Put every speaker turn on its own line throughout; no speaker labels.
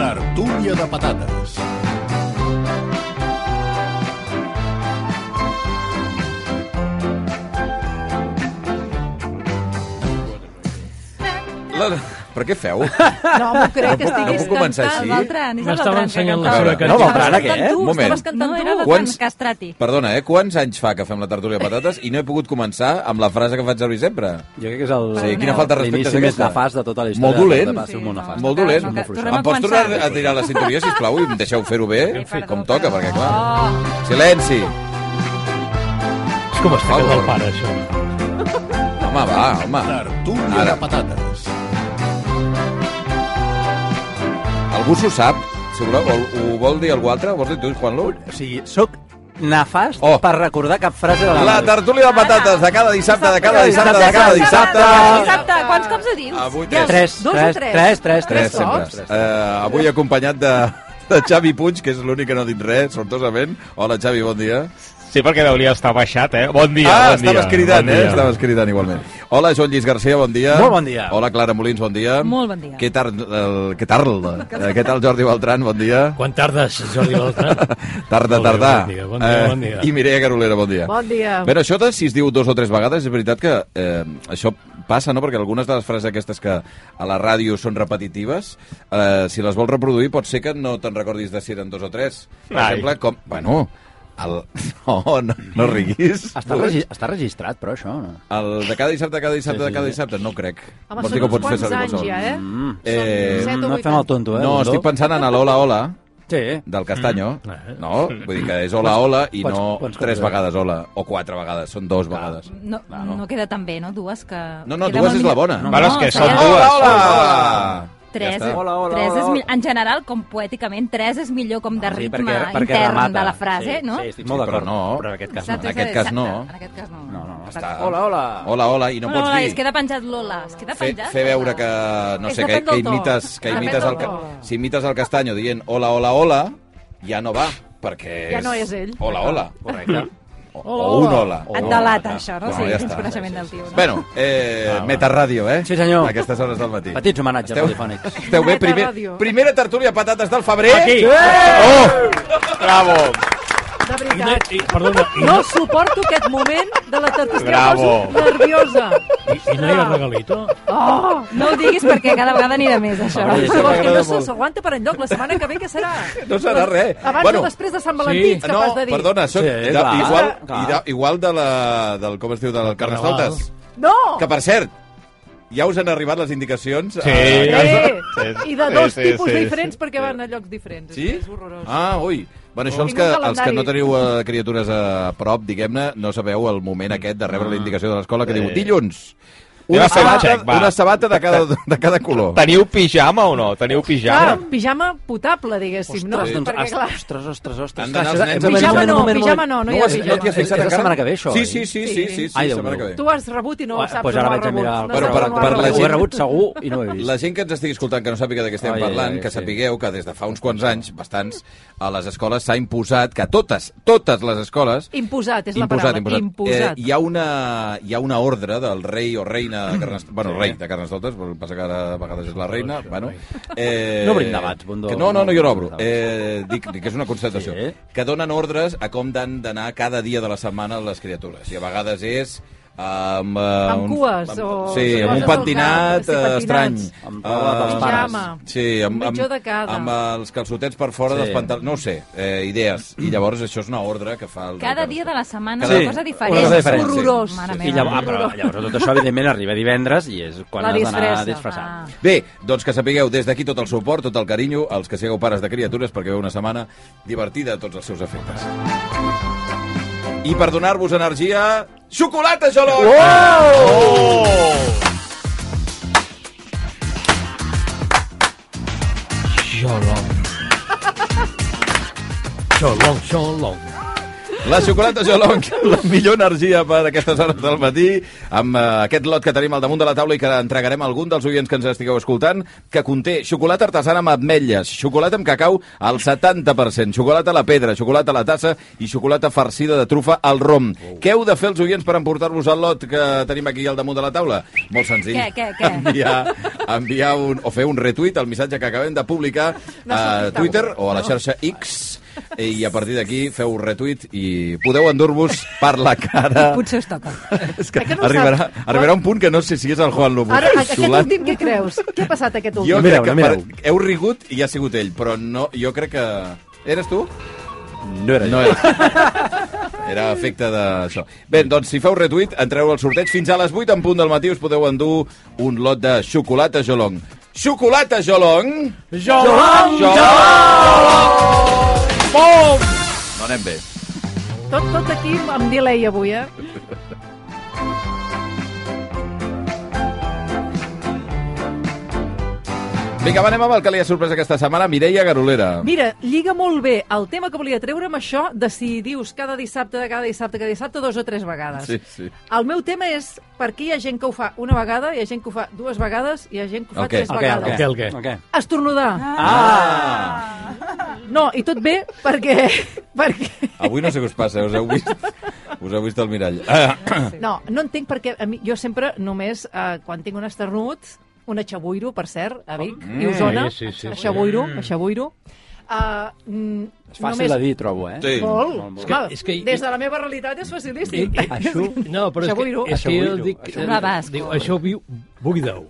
Tertúlia de patates.
La... Però què feu?
No m'ho crec, que
puc- no
estiguis
puc començar
cantant,
així?
Beltran. és el
M'estava
Beltran que
ensenyant la
cantava.
seva cançó.
No, Beltran,
Estaves
aquest,
cantant tu,
un moment.
estaves cantant
No,
tu.
era Beltran,
Quants-
castrati.
Perdona, eh? Quants anys fa que fem la tertúlia de patates i no he pogut començar amb la frase que faig servir sempre?
Jo crec que és el...
Sí, quina falta de respecte és
L'inici més
aquesta?
nefast de tota la història.
Molt dolent.
Va ser molt
Sí, no.
nefast.
Molt
No,
dolent.
no, que- tornem
em
a
pots tornar
començar.
a tirar la cinturia, sisplau, i em deixeu fer-ho bé,
perdó,
com toca,
perdó.
perquè clar...
Oh,
Silenci!
És com està
Por
quedant el
favor.
pare, això.
Home, va, home.
Tertúlia
Ara.
de patates.
Algú s'ho sap? Si voleu, o, ho vol dir algú altre? Vols dir tu, Juan Lu?
O sigui, soc nefast
Oh.
per recordar cap frase de la,
La tertúlia de patates de cada dissabte, de cada dissabte, de cada dissabte.
Dissabte, quants cops ho dius?
Avui tres.
Ja,
Tres,
Dos o
tres,
tres?
tres, tres,
Tres, sempre.
cops.
Eh, avui acompanyat de, de Xavi Puig, que és l'únic que no ha dit res, sortosament. Hola, Xavi, bon dia.
Sí, perquè deuria estar baixat, eh? Bon dia,
ah,
bon dia.
estaves cridant,
bon
eh?
dia.
Estaves cridant igualment. Hola, Joan Lluís Garcia, bon dia.
Molt bon dia.
Hola, Clara Molins, bon dia.
Molt bon dia.
Què tal, eh, què tal? Eh, què tal, Jordi Beltran, bon dia.
Quan tardes, Jordi Beltran?
Tarda,
Molt bé,
tardar.
Bon dia, bon dia, bon dia.
Eh, I Mireia Garolera, bon dia.
Bon dia.
Bé, això de si es diu dos o tres vegades, és veritat que eh, això passa, no? Perquè algunes de les frases aquestes que a la ràdio són repetitives, eh, si les vols reproduir pot ser que no te'n recordis de si eren dos o tres. Per
Ai.
exemple, com... Bueno, el... No, no, no riguis.
Està, regi està registrat, però, això, no?
El de cada dissabte, cada dissabte, de cada dissabte, no crec.
Home,
Vols dir
són
que
uns
pots fer
quants
servir
anys
qualsevol?
ja, eh?
Mm.
Eh,
Set o
no
vuit
fem el
anys.
tonto, eh?
No,
Bundó?
estic pensant en l'Hola Hola,
Sí.
del Castanyo.
Eh.
Mm.
No? Vull dir que és Hola Hola i
Quants-
no
quants cops
tres
és?
vegades Hola, o quatre vegades, són dos vegades.
No, no queda tan bé, no? Dues que...
Ah, No, no,
queda
dues
molt
és la
millor.
bona.
No,
Bueno, és que són
seria-
dues.
Hola, hola!
Tres,
eh?
Ja està.
Hola, hola,
tres
hola,
és,
hola.
mi- en general, com poèticament, tres és millor com de
Ah,
ritme intern
remata.
de la frase,
sí,
no?
Sí, estic
Sí,
molt
però
d'acord.
no.
Però en aquest cas
Saps?
no.
En
És
aquest
a dir,
cas
exacte,
no.
En aquest cas no.
No, no, no.
Està.
Hola, hola.
Hola, hola, i no,
No,
pots
no,
dir...
es queda penjat Lola, es queda
Fer,
penjat.
fer veure que, no
És
sé, que,
depèn
que
del to.
imites, que
Depèn
imites
del
el, ca-
to.
si imites el castanyo dient hola, hola, hola, ja no va, perquè
Ja no és ell.
Hola, hola.
Correcte.
O, o un hola.
Oh,
Et
O-
delata, això, no?
No,
sí,
ja
tens
està.
coneixement del tio, no?
Bueno, eh, ah, Metaràdio, eh?
Sí, senyor.
A aquestes hores del matí.
Petits homenatges
Esteu- Eh!
telefònics.
Esteu bé? Primer,
Metaràdio.
primera tertúlia patates del febrer. Oh!
Aquí!
Bravo,
De
I no,
veritat.
i, perdona, i no,
No suporto aquest moment de la tertúlia. Em
Bravo.
poso nerviosa.
i no hi ha regalito?
Oh!
No ho diguis perquè cada vegada anirà més, això.
Home,
Però és que
m'agrada
no se-
molt.
s'aguanta per enlloc. La setmana que ve què serà?
No serà res.
Abans
Bueno,
o després de Sant Valentí, ets capaç
no,
de dir.
perdona, soc
Sí,
de,
clar.
igual,
Clar.
ida- igual de la, del, com es diu, del Carnestoltes.
No!
Que, per cert, ja us han arribat les indicacions? Ah,
Sí.
Sí.
A...
Sí,
I de
sí,
dos
sí,
tipus
sí,
diferents
sí.
perquè van a llocs diferents.
Sí?
És horrorós.
Ah, ui. Bueno, això els
Tinc
que,
un
els que
calendari.
no teniu eh, criatures a prop, diguem-ne, no sabeu el moment aquest de rebre la indicació de l'escola que diu dilluns.
Anem
Una
a fer un
sabata,
check, va.
una sabata de cada, de cada color.
Teniu pijama o no? Teniu
Clar,
pijama?
pijama potable, diguéssim, no?
Ostres, doncs,
Perquè,
ostres,
clar,
ostres, ostres, ostres.
Han d'anar
Clar,
els
això-
nens a
moment,
veure-
moment, moment,
Pijama
moment.
no, no hi
No,
ha
has-
pijama.
no t'hi has fixat
És la
encara?
setmana que ve, això, eh?
Sí,
oi?
sí, sí,
Sí.
sí, sí, sí
Ai, Déu
setmana
meu.
que ve.
tu has rebut i no ho saps.
pues
o
ara
no ho
vaig a
has
mirar.
Bueno,
rebut. No
per-
sé, no
per
ho has
la
Ho
rebut.
he
gent-
rebut segur i no ho he vist.
La gent que ens estigui escoltant que no sàpiga de què estem
Ai,
parlant,
ai, ai,
que
sí.
sapigueu que des de fa uns quants anys, bastants, a les escoles s'ha imposat que totes, totes les escoles...
Imposat, és la paraula. Imposat.
Eh, hi, ha una, hi ha una ordre del rei o reina de Carnestoltes, bueno, rei de Carnestoltes, però passa que ara a vegades és la reina, bueno... Eh,
No obrim debats, Bundó.
Que no, no, no, jo no obro. Eh, dic, dic que és una constatació.
Sí.
Que donen ordres a com han d'anar cada dia de la setmana les criatures. I a vegades és amb, eh,
Amb
un-
cues
amb,
o-
Sí, amb un
coses al cap,
pentinat
sí,
eh,
pentinats.
estrany.
Amb roba dels
Eh,
pares.
Pijama.
Sí, amb,
Un
amb,
mitjó de cada.
amb els calçotets per fora
Sí.
dels pantalons, no ho sé, eh, idees. I llavors això és una ordre que fa el...
Cada dia de la setmana
Cada-
una cosa
Sí,
diferent.
una cosa diferent, sí.
Horrorós. Mare
I llavors, ah, però llavors tot això, evidentment, arriba divendres i és quan
La
has d'anar
disfressa.
Ah.
disfressant.
Bé, doncs que sapigueu des d'aquí tot el suport, tot el carinyo, als que sigueu pares de criatures perquè veu una setmana divertida a tots els seus efectes. I per donar-vos energia, xocolata gelós!
Xolong. Xolong, xolong.
La xocolata Jolong, la millor energia per aquestes hores del matí, amb eh, aquest lot que tenim al damunt de la taula i que entregarem a algun dels oients que ens estigueu escoltant, que conté xocolata artesana amb ametlles, xocolata amb cacau al 70%, xocolata a la pedra, xocolata a la tassa i xocolata farcida de trufa al rom. Què heu de fer els oients per emportar-vos el lot que tenim aquí al damunt de la taula? Molt senzill.
Què, què, què?
Enviar, enviar un, o fer un retuit al missatge que acabem de publicar a Twitter o a la xarxa X i a partir d'aquí feu retuit i podeu endur-vos per la cara.
Potser us
Eh,
toca.
És que
Aquest no
arribarà,
sap.
arribarà un punt que no sé si és el Juan Lobo.
Ara, a- aquest
Solant.
últim, què creus? Què ha passat aquest últim?
Jo
No
crec
mireu,
que
no mireu.
per- heu rigut i ha sigut ell, però no, jo crec que... Eres tu?
No era
No era. Era efecte d'això. Bé, doncs si feu retuit, entreu al sorteig. Fins a les 8 en punt del matí us podeu endur un lot de xocolata Jolong. Xocolata Jolong!
Jolong!
No anem bé.
Tot, tot aquí amb delay avui, eh?
Vinga, va, anem amb el que li ha sorprès aquesta setmana, Mireia Garolera.
Mira, lliga molt bé el tema que volia treure amb això de si dius cada dissabte, cada dissabte, cada dissabte, dos o tres vegades.
Sí, sí.
El meu tema és per què hi ha gent que ho fa una vegada, hi ha gent que ho fa dues vegades, hi ha gent que ho fa
Ok.
tres
El
El què, el
vegades.
què?
El què, el què?
El què?
Estornudar.
Ah!
No, i tot bé perquè... perquè...
Avui no sé què us passa, us heu vist, us heu vist al mirall. Ah,
No, no entenc perquè a mi, jo sempre només, eh, quan tinc un esternut, un aixabuiro, per cert, a Vic, i Osona,
Sí, sí, sí, sí.
aixabuiro, aixabuiro, uh, mm,
És fàcil
només...
de dir, trobo, eh?
Sí.
Molt.
Molt, molt.
Home,
És que- és que-
des de la meva realitat és facilíssim.
Això...
No, però és que,
Xabuiro.
és que jo
Xabuiro,
dic...
això-
Un abast.
Diu, això viu... Buideu.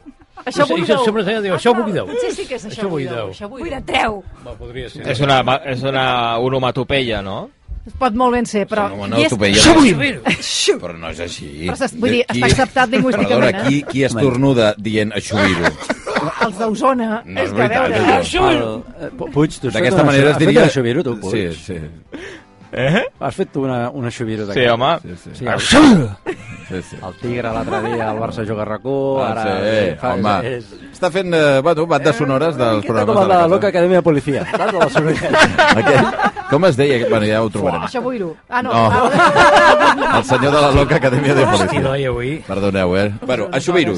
Això vull
Això
deu.
sempre s'ha de dir, això buideu.
Potser sí que és això
Això
vull
buideu.
deu, Això vull
Cuida,
deu.
treu.
Va, podria ser.
És una, ma- és una onomatopeia, no?
Pot molt ben ser, però...
no, no,
i és-
tu veies.
Xiu.
Però no és així.
Però s'ha- vull dir, està acceptat lingüísticament,
Perdona, qui,
eh?
qui es tornuda dient aixuir-ho?
Els d'Osona...
No, és
que, a
veritat,
veure,
és veritat.
El, eh, Pu- Puig, tu has fet
D'aquesta
una-
manera es
has fet
diria...
una xubiro, tu, Puig?
Sí, sí.
Eh?
Has fet tu una, una xubiro
Sí,
d'aquesta.
home.
Sí, sí.
Sí, el,
sí, sí.
el Tigre l'altre dia, el Barça juga a racó,
Ah,
ara...
sí,
fa-
home.
És,
Està fent, eh, bueno, bandes sonores dels
és
programes
com
de
el de
la
la loca
casa.
acadèmia de policia, saps? De la sorolleta.
Aquell, com es deia? Bueno, ja ho trobarem.
Això vull -ho. Ah, no.
No.
Ah,
El senyor de la loca acadèmia de
Hosti,
policia.
noi, avui...
Perdoneu, eh? Bueno, aixuir-ho.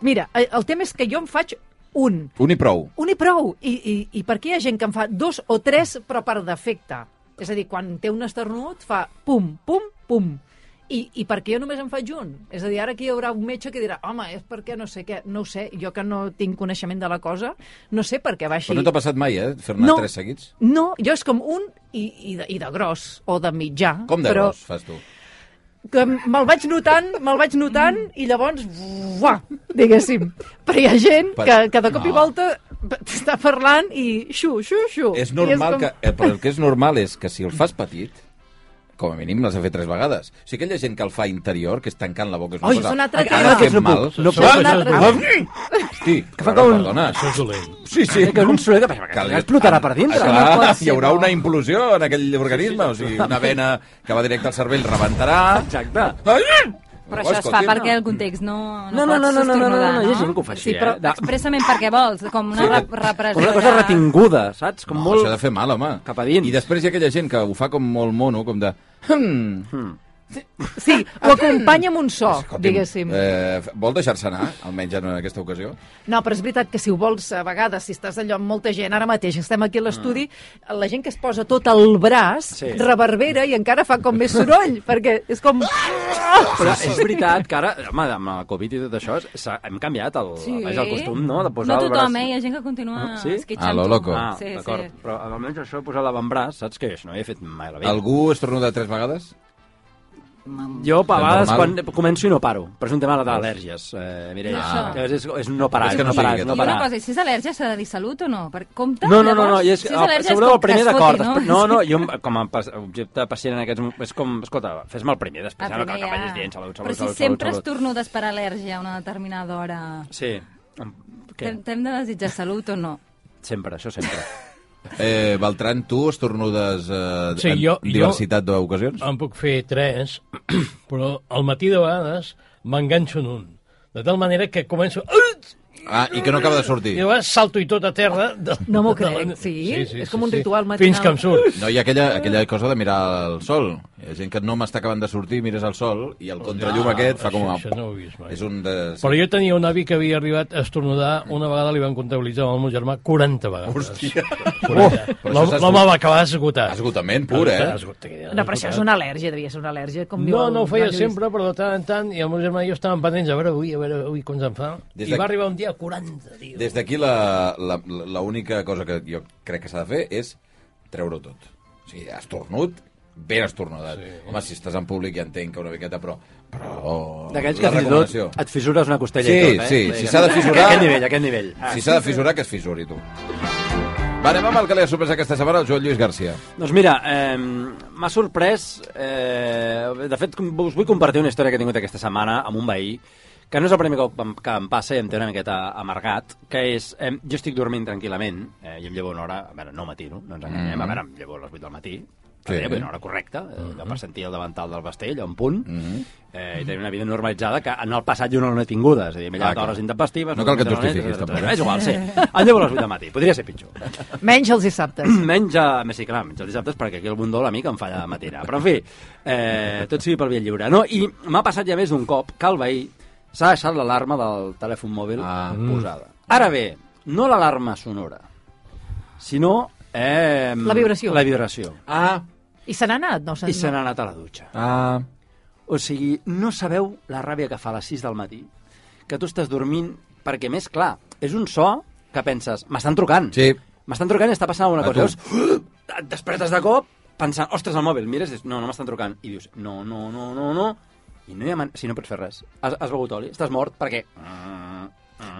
Mira, eh, el tema és que jo en faig un.
Un i prou.
Un i prou. I, i, I per què hi ha gent que en fa dos o tres, però per defecte? És a dir, quan té un esternut, fa pum, pum, pum. I, I per què jo només en faig un? És a dir, ara aquí hi haurà un metge que dirà home, és perquè no sé què, no ho sé, jo que no tinc coneixement de la cosa, no sé per què va així.
Però no t'ha passat mai, eh? Fer-ne
No.
tres seguits?
No, jo és com un i, i, de, i de gros, o de mitjà.
Com de
però
gros fas tu?
Que me'l vaig notant, me'l vaig notant, i llavors, uah, diguéssim. Però hi ha gent
Per-
que, que de cop i volta està parlant i xu, xu, xu.
És
I
normal
com-
que... Eh, però el que és normal és que si el fas petit, com a mínim l'has de fer tres vegades. O sigui, aquella gent que el fa interior, que és tancant la boca... És una
Ai,
cosa...
és un altre
Ara
tema.
fem
No
mal.
puc, no
puc.
Ah,
Això és dolent.
Hosti, que
fa
fa com...
com-
Perdona.
Això és dolent.
Sí, sí.
Que un soroll que, que
Cal-
explotarà per dintre.
Ah, clar,
No pot ser,
hi haurà
no.
una implosió en aquell organisme, o sigui, una vena que va directe al cervell rebentarà...
Exacte.
Ai! Oh,
Però això es fa
escolti,
perquè el context no,
No,
no,
no, no,
pots
no, no, no, no, no,
estornudar,
no, hi ha gent que ho fa així,
Sí, però
eh? De-
expressament perquè vols, com una rep- repressió.
Com una cosa
de-
retinguda, saps? Com
No,
molt...
això ha de fer mal, home.
Cap a dins.
I després hi ha aquella gent que ho fa com molt mono, com de... Hmm,
Sí, ho acompanya amb un so, diguéssim.
Eh, vol deixar-se anar, almenys en aquesta ocasió?
No, però és veritat que si ho vols, a vegades, si estàs allò amb molta gent, ara mateix estem aquí a l'estudi, la gent que es posa tot el braç sí.
Sí.
reverbera i encara fa com més soroll, perquè és com...
Però és veritat que ara, home, amb el Covid i tot això, s'ha- hem canviat el, sí. el costum, no? De posar
no
el
tothom,
braç...
eh? Hi ha gent que continua
Ah, sí?
esquitxant.
A lo
tu.
loco.
Ah,
sí,
d'acord.
sí.
Però almenys això de posar l'avantbraç, saps que això no ho he fet mai a la vida.
Algú es torna de tres vegades?
Jo, a vegades,
normal.
quan començo i no paro. Però és un tema d'al·lèrgies, eh, Mireia.
Ah.
Que És, és un no parar,
És que no
no parar,
sigui
és no
I una
parar.
cosa, i si és al·lèrgia s'ha de dir salut o no? Per compte,
No, no, no,
llavors,
no, i és,
si
si
és al·lèrgia
segureu el
es
primer
fot,
d'acord.
no?
després- No, no, jo com a pas- objecte pacient en aquests moments, és com, escolta, fes-me el primer, després
El
ja no cal
primer
que
ja.
vagis dient salut, salut,
Però si
salut,
sempre
salut,
es tornudes per al·lèrgia a una determinada hora,
Sí, Em- què?
t'hem t'hem de desitjar salut o no?
Sempre, això sempre.
Eh, Beltran, tu estornudes eh,
Sí,
en
jo-
diversitat d'ocasions?
En puc fer tres, però al matí de vegades m'enganxo en un. De tal manera que començo... I
Ah, i que no acaba de sortir.
Jo salto i tot a terra. De,
No m'ho
de la-
crec, sí? És com un ritual matinal.
Fins que em surt.
No, hi ha aquella, aquella cosa de mirar el sol. Hi ha gent que no m'està acabant de sortir, mires el sol, i el contrallum aquest fa com...
Això,
A...
això no ho he vist mai.
És un de...
Però jo tenia un avi que havia arribat a estornudar, una vegada li van comptabilitzar amb el meu germà 40 vegades.
Hòstia.
Oh,
Però això
l'hom-
és
L'home
esgotament.
va acabar esgotat.
Esgotament pur, eh?
Esgotat.
No, però això és una al·lèrgia, devia ser una al·lèrgia, com diu
No,
el-
no ho feia
el Lluís.
sempre, però de tant en tant, i el meu germà i jo estàvem pendents, a veure avui, a veure avui quants en fa.
Des
I
de-
va arribar un dia a 40, tio.
Des d'aquí la- la- l'única cosa que jo crec que s'ha de fer és treure-ho tot. O sigui, estornut, ben estornudat. Sí. Home, si estàs en públic ja entenc que una miqueta, però... però la
D'aquells que fins i tot
recomanació.
et fissures una costella
Sí,
i tot, eh?
sí,
Vull
si
dir,
s'ha de fissurar-
A aquest nivell, a aquest nivell. Ah,
Si s'ha de fissurar, que es fissuri, tu. Va, anem amb el que li ha sorprès aquesta setmana el Joan Lluís Garcia.
Doncs mira, eh, m'ha sorprès... Eh, de fet, com- us vull compartir una història que he tingut aquesta setmana amb un veí, que no és el primer cop em- que em passa i em té una miqueta amargat, que és... Eh, jo estic dormint tranquil·lament, eh, i em llevo una hora... A veure, no matí, no? No ens enganyem.
Mhm.
A veure, em llevo a les 8 del matí,
Sí. Mm-hmm.
Sí. Una hora correcta, eh, allò per sentir el davantal del vestell, a un punt, eh, i tenir una vida normalitzada que en el passat jo no l'he tinguda. És a dir, m'he
Ah,
llevat
clar.
hores intempestives...
No cal que et
dormit a la nit,
justifiquis,
etcètera,
tampoc. eh?
És igual, sí. Em llevo a les 8 del matí, podria ser pitjor.
Menys els dissabtes.
Menys, a, més, sí, clar, menys els dissabtes, perquè aquí el bundó a mi que em falla de matina. Però, en fi, eh, tot sigui per via lliure. No, i m'ha passat ja més d'un cop que el veí s'ha deixat l'alarma del telèfon mòbil
Ah.
ah. posada. Ara bé, no l'alarma sonora, sinó... Eh,
La vibració.
La vibració.
Ah,
I se n'ha anat, no?
I se n'ha anat a la dutxa.
ah...
O sigui, no sabeu la ràbia que fa a les 6 del matí, que tu estàs dormint, perquè més clar, és un so que penses, m'estan trucant.
Sí.
M'estan trucant i està passant alguna
A
cosa. Llavors, et despertes de cop pensant, ostres, el mòbil, mires, i dius, no, no m'estan trucant. I dius, no, no, no, no, no. I no hi ha man... Si no pots fer res. Has, has begut oli, estàs mort, perquè...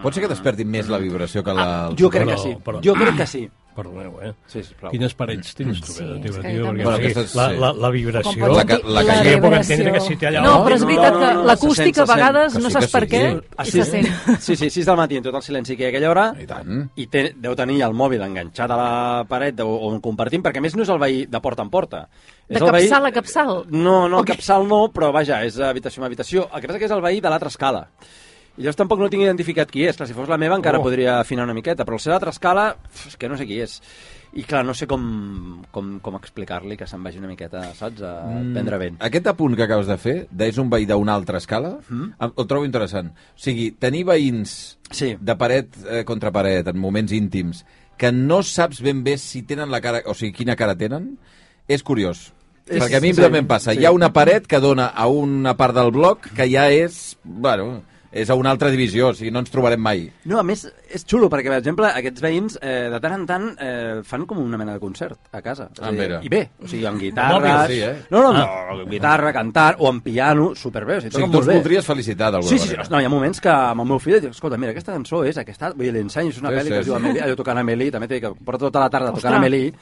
Pot ser que desperti més la vibració que la... el
Ah, jo
so.
crec
Ah. Però-
que sí.
però-
Jo crec que sí.
Perdoneu, eh?
Sí, sisplau.
Quines parets tens tu, eh,
és
teva,
que
tio,
també-
perquè,
Bueno,
o sigui,
aquestes,
la,
sí.
la, la vibració...
La ca- la
Sí,
caigué.
jo puc entendre que si té allà...
No, però és
No,
veritat
no,
que
no, no, se
l'acústica
sent, se
a vegades
sent.
no
Que sí,
saps
que
per
sí.
què
A
i se
sis-
sent.
Sí, sí, 6 del matí, en tot el silenci que hi ha a aquella hora.
I tant.
I té, deu tenir el mòbil enganxat a la paret o, on compartim, perquè a més no és el veí de porta en porta.
De
és el veí...
capçal a capçal.
No, no, okay. capçal no, però vaja, és habitació amb habitació. El que passa que és el veí de l'altra escala. I llavors tampoc no tinc identificat qui és. Clar, si fos la meva encara
Oh.
oh. podria afinar una miqueta, però el ser d'altra escala, pf, és que no sé qui és. I clar, no sé com, com, com explicar-li que se'n vagi una miqueta, saps, a
Mm.
prendre vent.
Aquest apunt que acabes de fer, d'és un veí d'una altra escala, mm. el trobo interessant. O sigui, tenir veïns
Sí.
de paret eh, contra paret, en moments íntims, que no saps ben bé si tenen la cara, o sigui, quina cara tenen, és curiós. És,
És-
Perquè a mi
sí,
també em passa.
sí.
Sí. Hi ha una paret que dona a una part del bloc que ja és, bueno, és a una altra divisió, o sigui, no ens trobarem mai.
No, a més, és xulo, perquè, per exemple, aquests veïns, eh, de tant en tant, eh, fan com una mena de concert a casa. És a
Ah,
dir,
mira.
I bé, o sigui, amb guitarra...
mòbil, sí, eh?
No, no, no, amb guitarra, cantant, o amb piano, superbé, o sigui,
O sigui,
toquen
tu els
molt bé.
voldries felicitar d'alguna
Sí, sí, sí,
manera.
no, hi ha moments que amb el meu fill dic, escolta, mira, aquesta cançó és aquesta, vull dir, l'enseny és una
Sí,
pel·li
sí,
que es diu
sí.
Amélie, allò tocant Amélie, també t'he dit que porta tota la tarda tocant Amélie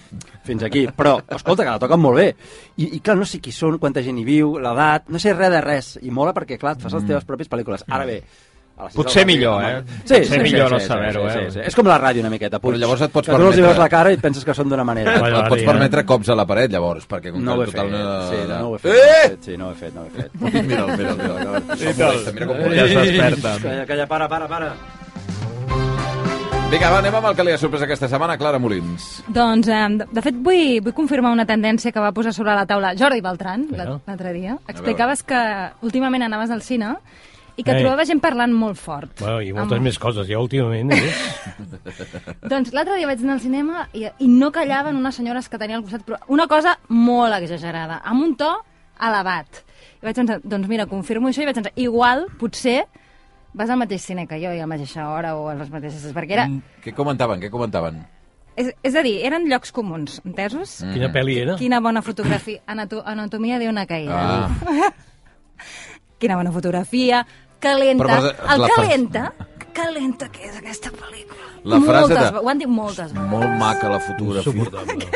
fins aquí, però, escolta, que la toquen molt bé. I, i clar, no sé qui són, quanta gent hi viu, l'edat, no sé res de res, i mola perquè, clar, et fas
Mm.
les teves pròpies pel·lícules. Ara bé, a les sis
Potser
del matí,
millor,
no,
eh?
home.
Potser millor no saber-ho, eh?
És com la ràdio una miqueta, Puig.
Però llavors et pots
que tu els hi
permetre-
veus la cara i et penses que són d'una manera.
Bueno,
Et
ara
pots
ja.
permetre cops a la paret, llavors, perquè com
No ho
que
he fet,
total
sí, no, no ho he fet, no ho he
Eh!
fet, sí, no ho he fet, no ho he fet.
Mira'l, mira'l, mira'l. Això
tal.
molesta, Mira com
Ja
molesta.
es desperten.
Calla, calla, para, para, para.
Vinga, va, anem amb el que li ha sorprès aquesta setmana, Clara Molins.
Doncs, eh, de- de fet, vull, vull confirmar una tendència que va posar sobre la taula Jordi Beltran
Vinga.
l'al- l'altre dia. Explicaves que últimament anaves al cine i que
Ei.
trobava gent parlant molt fort.
Bueno, I moltes
Amb-
més coses, ja últimament. Eh?
Doncs l'altre dia vaig anar al cinema i, i no callaven unes senyores que tenia al costat, però una cosa molt exagerada, amb un to elevat. I vaig pensar, doncs mira, confirmo això i vaig pensar, igual, potser, vas al mateix cine que jo i a la mateixa hora o a les mateixes... Perquè era...
Què comentaven, què comentaven?
És, és a dir, eren llocs comuns, entesos?
Mm.
Quina pel·li era?
Quina bona fotografia. Anato anatomia d'una caïda.
Ah,
Quina bona fotografia. Calenta.
Però, però,
el
la fa-
calenta. Calenta que és aquesta pel·lícula.
La frase
moltes,
de-
ve- Ho han dit moltes vegades.
molt maca la fotografia.
Suportable.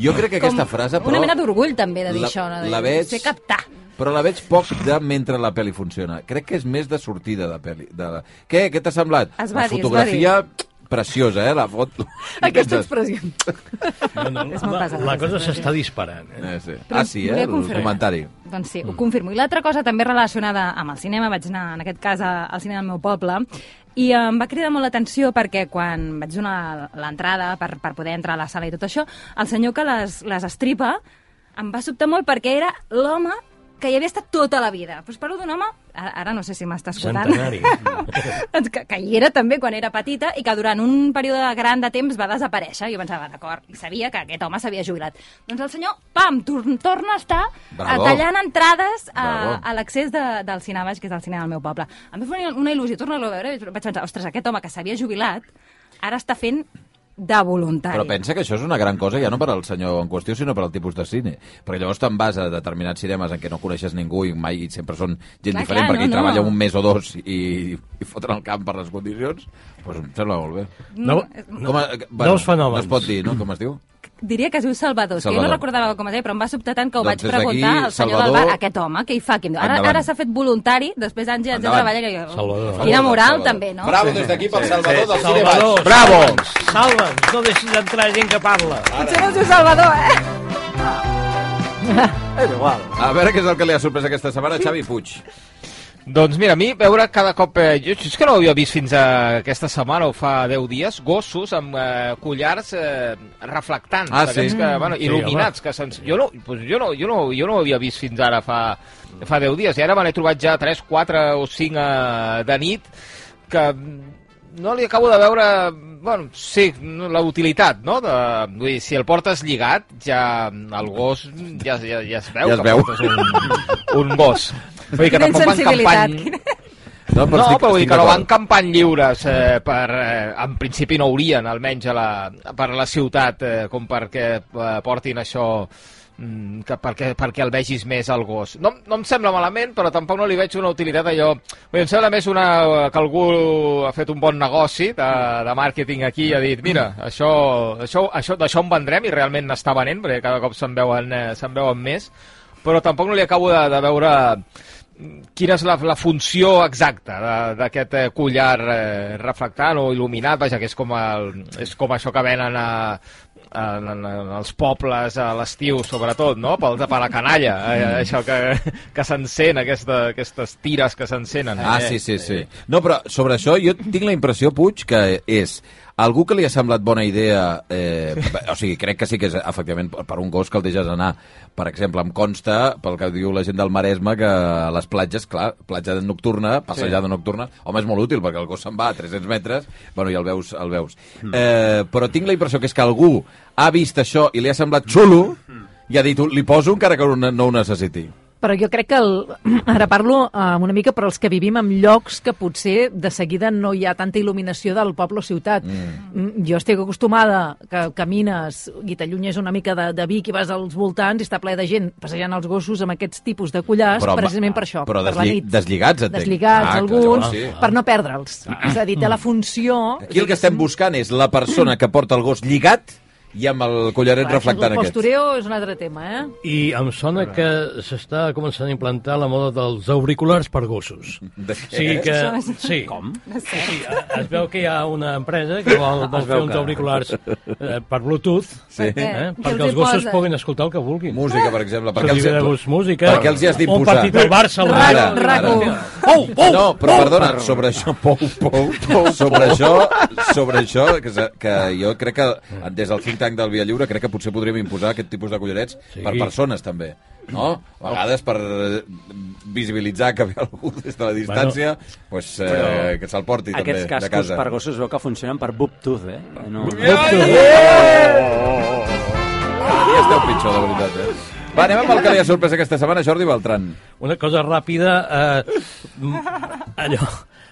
Jo crec que aquesta frase, però...
Una mena d'orgull, també, de dir
la-
això. No? De
la
dir,
veig-
Sé captar.
Però la veig poc de mentre la pel·li funciona. Crec que és més de sortida de pel·li. De... Què? Què t'ha semblat?
Es va
la
dir, es va
fotografia... preciosa, eh, la foto.
Aquesta expressió.
No, no,
És molt
la,
pesat,
la
aquesta
cosa s'està disparant. Eh?
Eh, sí.
Però
Ah, sí, eh,
volia
el
confirmar.
comentari.
Doncs sí, ho confirmo. I l'altra cosa també relacionada amb el cinema, vaig anar en aquest cas a- al cinema del meu poble, i em va cridar molt l'atenció perquè quan vaig donar l'entrada per, per poder entrar a la sala i tot això, el senyor que les, les estripa em va sobtar molt perquè era l'home que hi havia estat tota la vida. Però parlo d'un home, ara, ara no sé si m'està escoltant,
Centenari.
doncs que, que hi era també quan era petita i que durant un període gran de temps va desaparèixer. Jo pensava, d'acord, i sabia que aquest home s'havia jubilat. Doncs el senyor, pam, tor torna a estar
Bravo.
Bravo. Eh, tallant entrades a,
Bravo.
a l'accés de, del cinema, que és el cinema del meu poble. Em va fer una- una il·lusió, torna-lo a veure, i vaig pensar, ostres, aquest home que s'havia jubilat, ara està fent de voluntari.
Però pensa que això és una gran cosa ja no per al senyor en qüestió, sinó per al tipus de cine. Perquè llavors te'n vas a determinats cinemes en què no coneixes ningú i mai i sempre són gent
Clar,
diferent
clar,
perquè
no,
hi treballa
no.
un mes o dos i, i foten el camp per les condicions, doncs em sembla molt bé.
No,
Com a,
Nous fenòmens.
No es pot dir, no? Com es diu?
Diria que es diu Salvador, Salvador. que jo
Salvador.
no recordava com es deia, però em va sobtar tant que ho
Doncs
vaig
des d'aquí,
preguntar al senyor Salvador...
Salvador,
del bar, aquest home, què hi fa? Quin... Ara,
endavant.
ara s'ha fet voluntari, després d'anys ja ens de
Endavant.
treballar. Que... jo-
Salvador.
Quina moral,
Salvador.
també, no?
Bravo des d'aquí pel Salvador del cine
Salvador,
baix. Bravo!
salva'ns, Salva'ns, no deixis entrar gent que parla.
Ah.
Potser no es diu Salvador, eh?
És igual.
A veure què és el que li ha sorprès aquesta setmana, Xavi Puig.
Doncs mira, a mi veure cada cop... Eh, jo és que no ho havia vist fins a aquesta setmana o fa 10 dies, gossos amb eh, collars eh, reflectants,
Ah,
d'aquests
sí?
que, bueno,
Sí,
il·luminats. Que se'ns... jo, no, doncs jo, no, jo, no, jo no ho havia vist fins ara fa, fa 10 dies, i ara me n'he trobat ja 3, 4 o 5 eh, de nit, que no li acabo de veure... Bueno, sí, no, la utilitat, no? De, vull dir, si el portes lligat, ja el gos ja, ja, ja es veu
Ja es
que
veu.
portes un, un gos. Vull dir que
Quina
tampoc van
insensibilitat,
campany,
quina-
No,
no, però vull dir que no van
d'acord.
campant lliures eh, per... Eh, en principi no haurien, almenys a la, per la ciutat, eh, com perquè eh, portin això mm, que perquè, perquè el vegis més al gos. No, no em sembla malament, però tampoc no li veig una utilitat allò... Vull dir, em sembla més una, que algú ha fet un bon negoci de, de màrqueting aquí i ha dit, mira, això, això, això d'això en vendrem i realment n'està venent, perquè cada cop se'n veuen, eh, se'n veuen més, però tampoc no li acabo de, de veure mm, quina és la, la funció exacta de- d'aquest eh, collar eh, reflectant o il·luminat, vaja, que és com, el, és com això que venen a, a, a, als pobles a l'estiu, sobretot, no? Pel, per la canalla,
Mm.
eh, això que, que s'encén, aquesta, aquestes tires que s'encenen. eh?
Ah, sí, sí, sí. No, però sobre això jo tinc la impressió, Puig, que és algú que li ha semblat bona idea, eh, o sigui, crec que sí que és, efectivament, per per un gos que el deixes anar. Per exemple, em consta, pel que diu la gent del Maresme, que a les platges, clar, platja nocturna, passejada sí. nocturna, home, és molt útil, perquè el gos se'n va a 300 metres, bueno, i el veus, el veus. Eh, però tinc la impressió que és que algú ha vist això i li ha semblat xulo, i ha dit, li poso encara que no no ho necessiti.
Però jo crec que, el, ara parlo eh, una mica per als que vivim en llocs que potser de seguida no hi ha tanta il·luminació del poble o ciutat. Mm. Jo estic acostumada que camines i t'allunyes una mica de, de Vic i vas als voltants i està ple de gent passejant els gossos amb aquests tipus de collars
Però,
però,
home,
precisament per això,
però
per la
desllli-
nit.
deslligats, entenc.
Deslligats,
Ah, que
alguns,
llavors sí. Ah.
per no perdre'ls. És a dir, té la funció...
Aquí el que estem buscant és la persona que porta el gos lligat i amb el collaret
Clar,
reflectant
El
aquest.
postureo és un altre tema, eh?
I em sona que s'està començant a implantar la moda dels auriculars per gossos.
De
O sigui que... Sí.
Eh, Com? Ah,
Sí, sí, eh, es veu que hi ha una empresa que vol, vol
Es veu
fer uns
que-
auriculars eh, per Bluetooth
Sí.
eh,
Què els hi
perquè els gossos
poses?
puguin escoltar el que vulguin.
Música, per exemple. Per
Perquè
què
els
els,
hi ha gust música.
per què els hi has
Un
d'imposar?
partit del Barça. el
Ara,
Barça.
ara.
Pou, pou,
no, però
pou.
perdona, sobre això, pou, pou, sobre això, sobre això, que, se- que jo crec que des del think tank del Via Lliure crec que potser podríem imposar aquest tipus de collarets
Sí.
sí. per persones també, no? A vegades per eh, visibilitzar que ve algú des de la distància, bueno, pues, eh,
Però
que se'l porti també
Aquests
de
cascos
casa.
per gossos veu que funcionen per boob-tooth, eh? No,
Cada dia esteu pitjor, de veritat, eh? Va, anem amb el que li ha sorprès aquesta setmana, Jordi Beltran.
Una cosa ràpida. Eh, m- allò,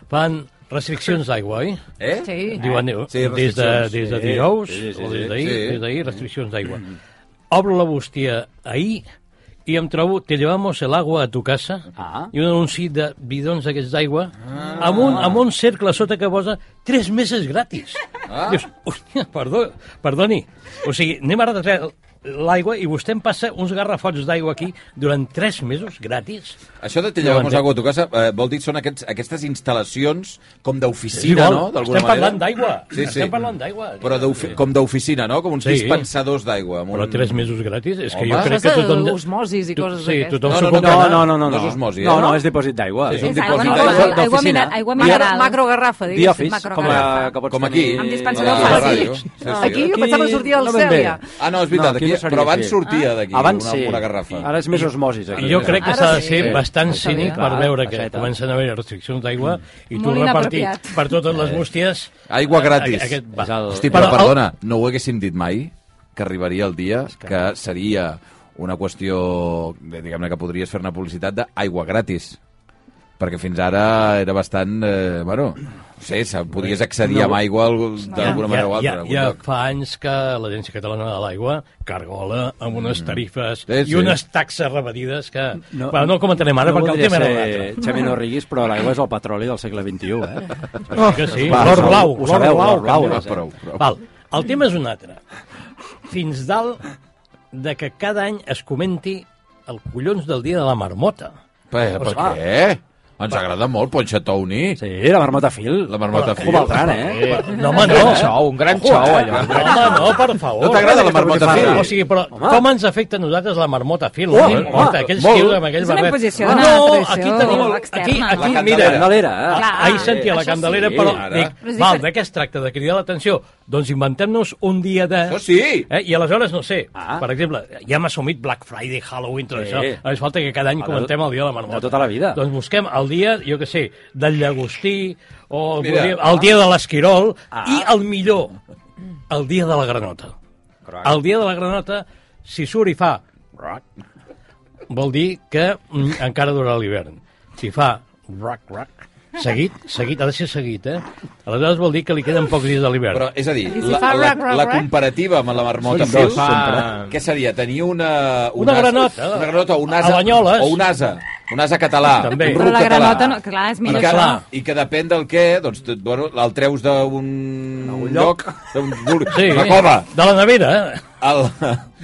fan restriccions d'aigua, oi?
Eh?
Sí.
Diuen,
Sí,
sí, des, de,
restriccions.
des de
Sí,
dijous,
sí,
sí,
sí,
sí, o des
sí.
d'ahir,
Sí.
sí. des d'ahir, restriccions d'aigua. Obro la bústia ahir i em trobo Te llevamos el agua a tu casa
Ah.
i un anunci de bidons d'aquests d'aigua ah. amb, un, amb un cercle sota que posa tres meses gratis. Ah. Dius, hòstia, perdó, perdoni. O sigui, anem ara de l'aigua i vostè em passa uns garrafots d'aigua aquí durant tres mesos gratis.
Això de te
No
llevamos
entenc.
agua a tu casa eh, vol dir que són aquests, aquestes instal·lacions com
Sí,
d'oficina, no? D'alguna
Estem parlant d'aigua.
Sí, sí.
Estem parlant d'aigua.
Però d'ofi- com d'oficina, no? Com uns
Sí.
dispensadors d'aigua. amb
Però
un-
tres mesos gratis? És que
Home.
jo crec que
Això és
tothom...
Eh, osmosis i
tu-
coses
Sí,
d'aquestes.
tothom
No,
s'ho
no,
pot
no,
anar.
No, no, no, no.
No s'osmosi, eh?
No, no, és dipòsit d'aigua.
Sí, és un
És
dipòsit
aigua,
d'aigua
normal, aigua,
d'oficina.
mineral, aigua
Dia-
mineral.
Macrogarrafa,
The
diguéssim.
Office, com, a,
macrogarrafa.
que pots
Com aquí. eh,
tenir-
Amb dispensador
a la
fàcil.
ràdio. Sí, sí.
Aquí jo pensava que sortia el
no ben bé.
Cèlia.
Ah, no, és veritat,
No,
aquí,
aquí no seria
però abans
així.
sortia d'aquí
Abans
una,
sí.
una garrafa.
Ara és més osmosis. Aquí.
Jo crec que
Ara
s'ha de
sí.
ser
Sí.
bastant
Sí,
cínic
clar,
per veure que
aixeta.
comencen a haver restriccions d'aigua i tu
Molt
repartir
inapropiat.
per totes les bústies...
Aigua
a-
gratis.
a- Aquest,
És el-
va.
Hosti, però,
Però-
perdona, no ho haguéssim dit mai que arribaria el dia que seria una qüestió, eh, diguem-ne, que podries fer una publicitat d'aigua gratis. Perquè fins ara era bastant... Eh, bueno, no sé, se- podies accedir
No.
amb aigua al- d'alguna manera o
ja,
altra. en algun
ja
lloc.
fa anys que l'Agència Catalana de l'Aigua cargola amb unes tarifes
Mm. Sí, sí.
i unes taxes rebedides que...
No-
No, bueno, no ho comentarem ara
no
perquè el
voldria
tema era un
ser
altre.
Xavi, no riguis, però l'aigua és el petroli del segle XXI, eh?
Oh, que sí,
Va,
l'or
ho
blau,
sabeu,
l'or
l'or
blau.
blau,
que em
Va,
dius, eh?
prou, prou.
Val, el tema és un altre. Fins dalt de que cada any es comenti el collons del dia de la marmota.
Per, per
va.
què? Ens agrada molt Ponxa Touni. Sí.
Sí, la marmota fil.
La marmota fil.
Cobaltran, eh?
No, home,
Un gran
no.
xou, Oh, un gran xou,
eh?
allò.
No, home, no, per favor.
No t'agrada la marmota
Sí.
fil?
O sigui, però
Home.
com ens afecta a nosaltres la marmota fil?
Oh,
Oh, no importa,
home,
aquells
molt.
tios amb aquell
És una
barret.
imposició, una
no,
tradició
aquí tenim...
externa,
Aquí,
no?
aquí,
La
mira,
Candelera.
Candelera, eh?
Clar.
ahir sentia la
això
Candelera,
sí.
però
Ara.
dic,
Però és
val,
diferent.
de què es tracta? De cridar l'atenció? Doncs inventem-nos un dia de...
Això Oh, sí!
Eh? I aleshores, no sé,
Ah.
per exemple, ja hem assumit Black Friday, Halloween, tot
Sí.
això. Ens falta que cada any
Home,
comentem el dia de la marmota.
de tota la vida.
Doncs busquem el dia, jo que sé, del llagostí, o el,
Mira.
dia, el dia de l'esquirol,
Ah.
i el millor, el dia de la granota. El dia de la granota, si surt i fa... roc, Vol dir que mm, encara durarà l'hivern. Si fa roc, roc, seguit, seguit, ha de ser seguit, eh? Aleshores vol dir que li queden pocs dies a l'hivern.
Però, és a dir,
I si
la,
fa
la,
rac, rac,
la
rac?
comparativa amb la marmota
Sí,
fil,
fa-
sempre. què seria? Tenir una... un
Una
ase-
granota.
Una granota, un
A
asa,
Banyoles.
o un asa, un asa català,
També.
un
Però
ruc
la
català.
granota, no, clar, és
I
millor
que,
això.
clar.
I que depèn del què, doncs, tu, bueno, el treus d'un lloc, d'un
Sí,
una cova.
de la nevera, eh?
El,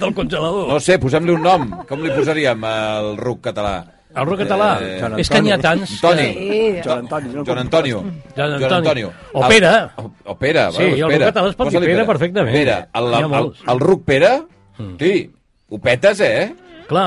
del congelador.
no sé, posem-li un nom. Com li posaríem al ruc català?
El rock català.
Eh,
Joan
és que n'hi ha tants.
Antoni.
Sí.
Joan Antoni, no?
Joan Antonio.
Joan
Joan
Antonio.
Antonio.
O Pere.
El, o, o Pere.
Sí, el català es pot dir
Posa-li
Pere perfectament.
Pere. El,
N'hi ha
el, el,
molts. Mm.
el ruc Pere, sí, ho petes, eh?
Clar,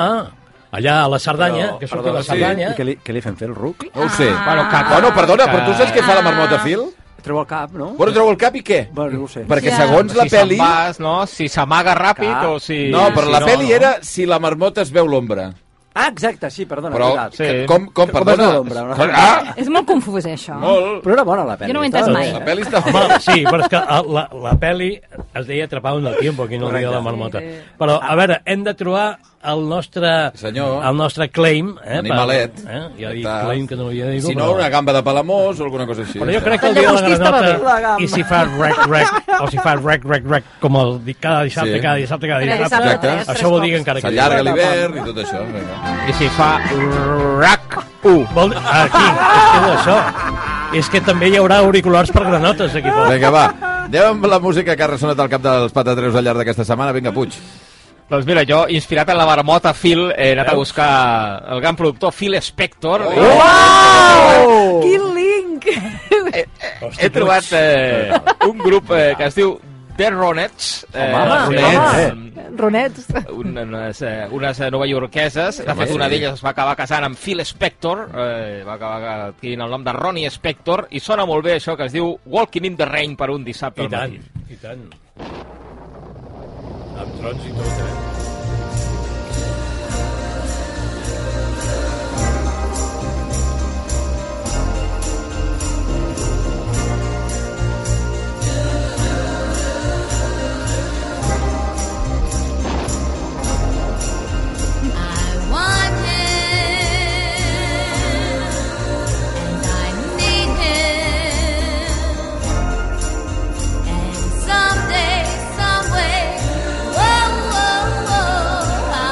allà a la Cerdanya, que surt a la Cerdanya,
I què li, què li fem fer, el ruc?
No ho sé.
Bueno, que-
Bueno, perdona, però tu saps què fa la marmota fil?
Treu el cap, no?
Bueno, treu el cap i què?
Bueno, no ho sé.
Perquè
Ja.
segons la
si se'n
peli...
Vas, no? Si s'amaga ràpid
Clar.
o si...
No, però
si
la peli
no.
era si la marmota es veu l'ombra.
Ah, exacte, sí, perdona.
Però,
veritat.
sí.
que- com, com,
Com es
perdona...
veu l'ombra, no?
Ah!
És molt confús, això.
Molt.
Però era bona la pel·li.
Jo no ho he entès
estava
mai.
bé,
La
eh?
peli està...
Home, sí, però és que eh, la, la peli es deia Atrapado en el tiempo, aquí no el dia de la marmota. Però, a veure, hem de trobar el nostre,
Senyor.
el nostre claim. Eh,
Animalet.
Per, eh? Ja dic
Està.
claim que no hi ha dit.
Si no, una gamba de Palamós o alguna cosa així.
Però jo crec que
El
el dia de la
llagostí estava bé.
La
granota,
gamba.
i si fa rec, rec, o si fa rec, rec, rec, com el di- cada dissabte,
Sí.
cada dissabte, cada
Cada
dissabte,
dissabte, tres,
això vol dir que
tres
encara queda.
S'allarga l'hivern i tot això. Vinga.
I si fa rac 1.
Vol... Ah, Aquí, és que és això. És que també hi haurà auriculars per granotes aquí fora.
Vinga, va. Anem amb la música que ha ressonat al cap dels patatreus al llarg d'aquesta setmana. Vinga, Puig.
Doncs mira, jo, inspirat en la marmota Phil, he anat a buscar el gran productor Phil Spector.
Oh. Quin link!
He trobat eh, un grup eh, que es diu The Ronettes. Eh,
Home,
Ronettes,
Ronets.
un, unes, eh, unes eh, novaiorqueses. De fet,
sí.
una d'elles es va acabar casant amb Phil Spector, eh, va acabar adquirint el nom de Ronnie Spector, i sona molt bé això que es diu Walking in the Rain per un
Ah!
dissabte
I
al
tant,
matí.
i tant. Amb trons i tot, eh?
I want him, and I need him, and someday, someway, whoa, whoa,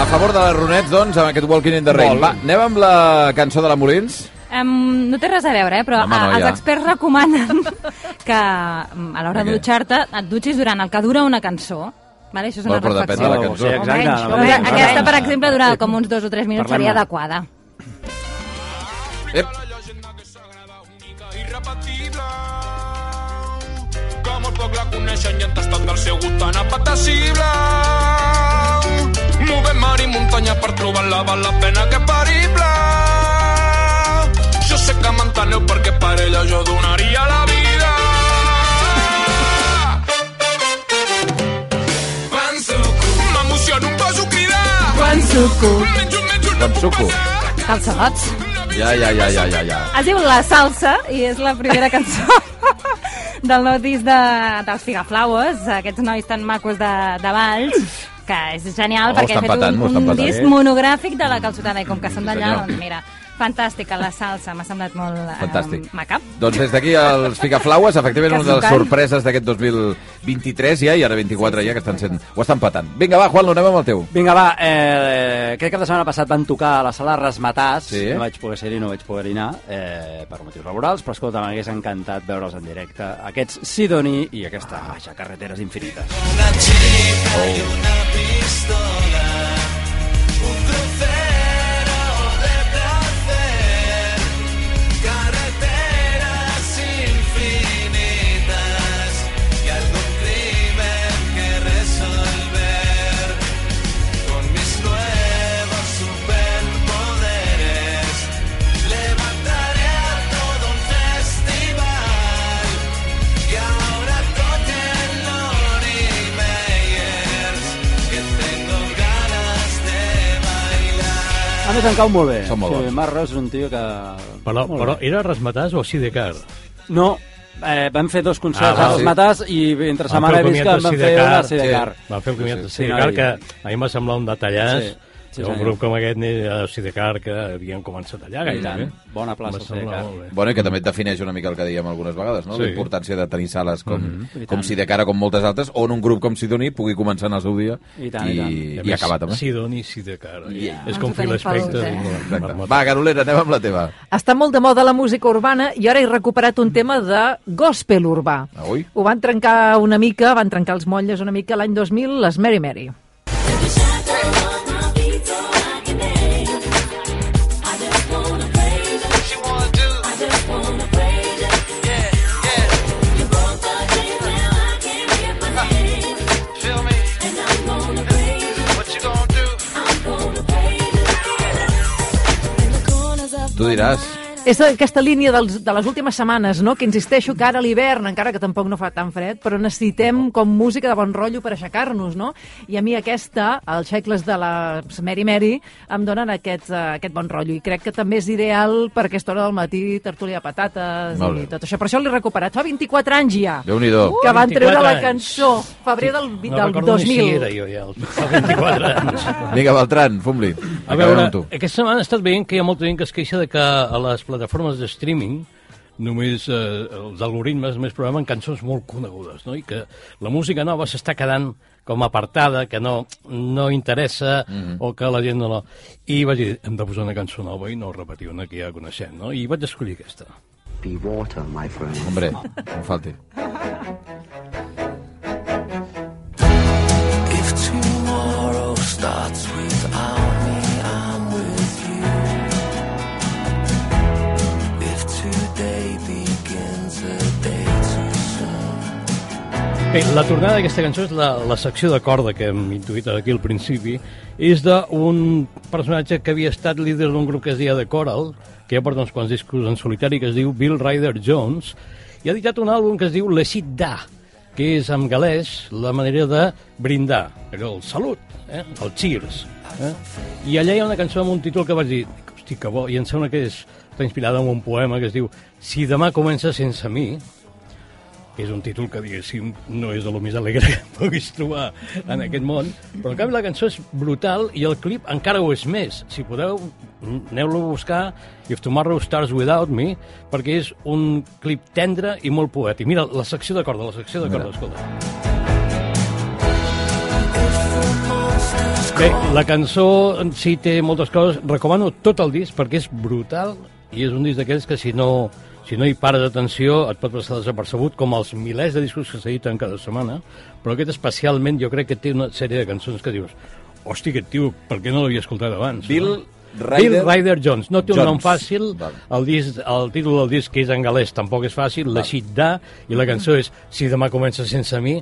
A favor de les Ronets, doncs, amb aquest Walking in the Rain.
Molt.
Va, anem amb la cançó de la Molins.
Um, no té res a veure, eh? però
Home,
Home,
no,
no,
ja.
els experts recomanen que mm, a l'hora
Què?
de dutxar-te et dutxis durant el que dura una cançó. Vale? Això és una
Bueno, però depèn
reflexió.
de la
Oh,
cançó.
sí, exacte.
Almenys,
la
Però
almenys.
mateixa.
Aquesta, per exemple, dura com uns dos o tres minuts,
Parlem-ne.
seria adequada.
Ep,
leyenda que sagrada, única, irrepetible. Com el poc la coneixen i han tastat del seu gust tan apetecible. Movem mar i muntanya per trobar-la, val la pena que perible. Jo sé que m'enteneu perquè per ella jo donaria la vida. Quan suco, m'emociono, em poso a cridar. Quan suco, menjo, menjo, no
Quan
puc
suco.
passar.
Calçalots.
ja, ja, ja, ja, ja, ja.
Es diu La Salsa i és la primera cançó del nou disc de, dels Figaflaues, aquests nois tan macos de, de Valls, que és genial
Oh,
perquè
estan
he fet
petant,
un,
ho estan
un
petant.
disc monogràfic de la calçotada i com que són d'allà,
senyor.
doncs mira, fantàstica La Salsa, m'ha semblat molt eh,
Fantàstic.
macab.
Doncs des d'aquí els Ficaflaues, efectivament
Que
una de les
sucant.
sorpreses d'aquest 2023 ja, i ara 24 ja, que estan sent... Ho estan patant. Vinga, va, Juan, anem amb el teu.
Vinga, va, eh, crec que la setmana passat van tocar a la sala Resmatàs,
Sí.
no vaig poder ser-hi, no vaig poder anar, eh, per motius laborals, però escolta, m'hagués encantat veure'ls en directe, aquests Sidoni i aquesta baixa carreteres infinites. A mi tancau molt bé.
Són molt bons.
Sí, Marc Reus és un tio que...
Però,
Molt
però
bé.
era Resmatàs o Sidecar?
No, eh, vam fer dos
Ah,
concerts
va,
a
sí.
Resmatàs i entre
Van fer
setmana
el
he vist que en
comiat de
van fer una
Sidecar.
a Sidecar.
Sí.
Van fer el comiat de
Sí,
Sidecar,
no, i-
que a mi m'ha semblat un detallàs.
Sí, sí,
Sí, un
senyor.
grup com aquest, eh, Sidecar, que havien començat allà
I tant.
gairebé.
Bona plaça,
Em va semblar
Sidecar.
molt bé.
Bueno, i que també et defineix una mica el que dèiem algunes vegades, no?
Sí.
Sí. La importància de tenir sales com, mm
Mhm. I
-hmm.
tant.
com si de cara com moltes altres, on un grup com Sidoní pugui començar en el seu dia
I tant, i tant.
i,
I a
i
més,
acabar també. Sí.
Si doni, si de cara.
Yeah.
És
Ens
com
ho
Phil
tenim pel
Spector.
dulce.
i la
Exacte.
marmota.
Va, Garolera, anem amb la teva.
Està molt de moda la música urbana i ara he recuperat un tema de gospel urbà.
Ah, ui.
Ho van trencar una mica, van trencar els motlles una mica l'any 2000, les Mary Mary.
Tu diràs.
És aquesta línia dels, de les últimes setmanes, no? que insisteixo que ara a l'hivern, encara que tampoc no fa tan fred, però necessitem com música de bon rotllo per aixecar-nos, no? I a mi aquesta, els xecles de la Mary Mary, em donen aquest, eh, aquest bon rotllo. I crec que també és ideal per aquesta hora del matí, tertúlia de patates
Molt
i
bé.
tot això. Per això l'he recuperat. Fa 24 anys ja
Déu-n'hi-do.
que van treure
24
la
anys.
cançó, febrer del, vi-
No
del
recordo ni
2000.
si era jo ja, als 24 anys.
Vinga, Beltran, fum-li.
A
Acabem
veure,
amb tu.
aquesta setmana he estat veient que hi ha molta gent que es queixa de que a les plataformes de streaming només eh, els algoritmes només programen cançons molt conegudes, no? I que la música nova s'està quedant com apartada, que no, no interessa, mm -hmm. o que la gent no la... I vaig dir, hem de posar una cançó nova i no repetir una que ja coneixem, no? I vaig escollir aquesta.
Be water, my friend.
Hombre, no em falti.
If tomorrow starts without me, I'm with you. If today begins a day too soon.
Bé, la tornada d'aquesta cançó és la, la secció de corda que hem intuït aquí al principi és d'un personatge que havia estat líder d'un grup que es deia The Coral que ja porta uns quants discos en solitari que es diu Bill Ryder Jones i ha editat un àlbum que es diu Le Cid Da que és en galès la manera de brindar allò, el salut, eh? el cheers eh? i allà hi ha una cançó amb un títol que vaig dir hosti que bo, i em sembla que és, està inspirada en un poema que es diu Si demà comença sense mi és un títol que, diguéssim, no és el més alegre que puguis trobar en aquest món, però en canvi la cançó és brutal i el clip encara ho és més. Si podeu, aneu-lo a buscar If Tomorrow Starts Without Me, perquè és un clip tendre i molt poètic. Mira, la secció de corda, la secció de corda, escolta.
If the moon
Bé, la cançó en si té moltes coses. Recomano tot el disc perquè és brutal i és un disc d'aquells que si no, si no hi pares atenció et pot passar desapercebut com els milers de discos que s'editen cada setmana, però aquest especialment jo crec que té una sèrie de cançons que dius hòstia, aquest tio, per què no l'havia escoltat abans?
Bill
no? Bill
Ryder-
Ryder Jones. No té un nom
Jones.
fàcil,
Val.
el, disc, el títol del disc que és en galès tampoc és fàcil, la xit da, i la cançó és Si demà comença sense mi.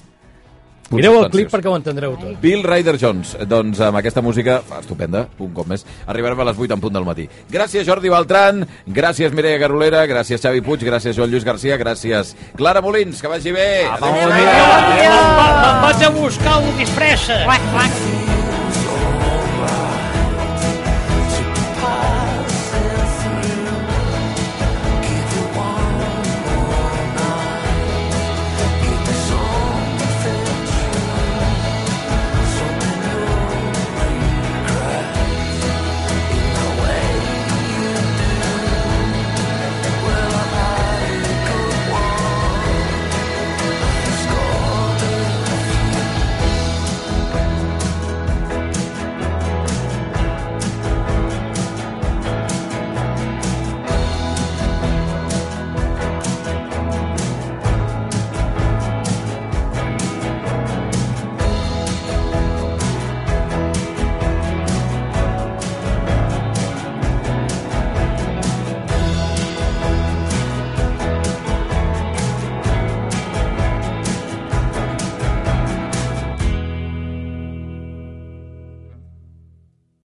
Mireu el clip
Substàncies.
perquè ho entendreu tot.
Bill Ryder Jones. Doncs amb aquesta música estupenda, un cop més, arribarem a les 8 en punt del matí. Gràcies Jordi Beltran, gràcies Mireia Garolera, gràcies Xavi Puig, gràcies Joan Lluís Garcia, gràcies Clara Molins, que vagi bé. Adéu.
Bon dia.
Me'n vaig a buscar un disfressa.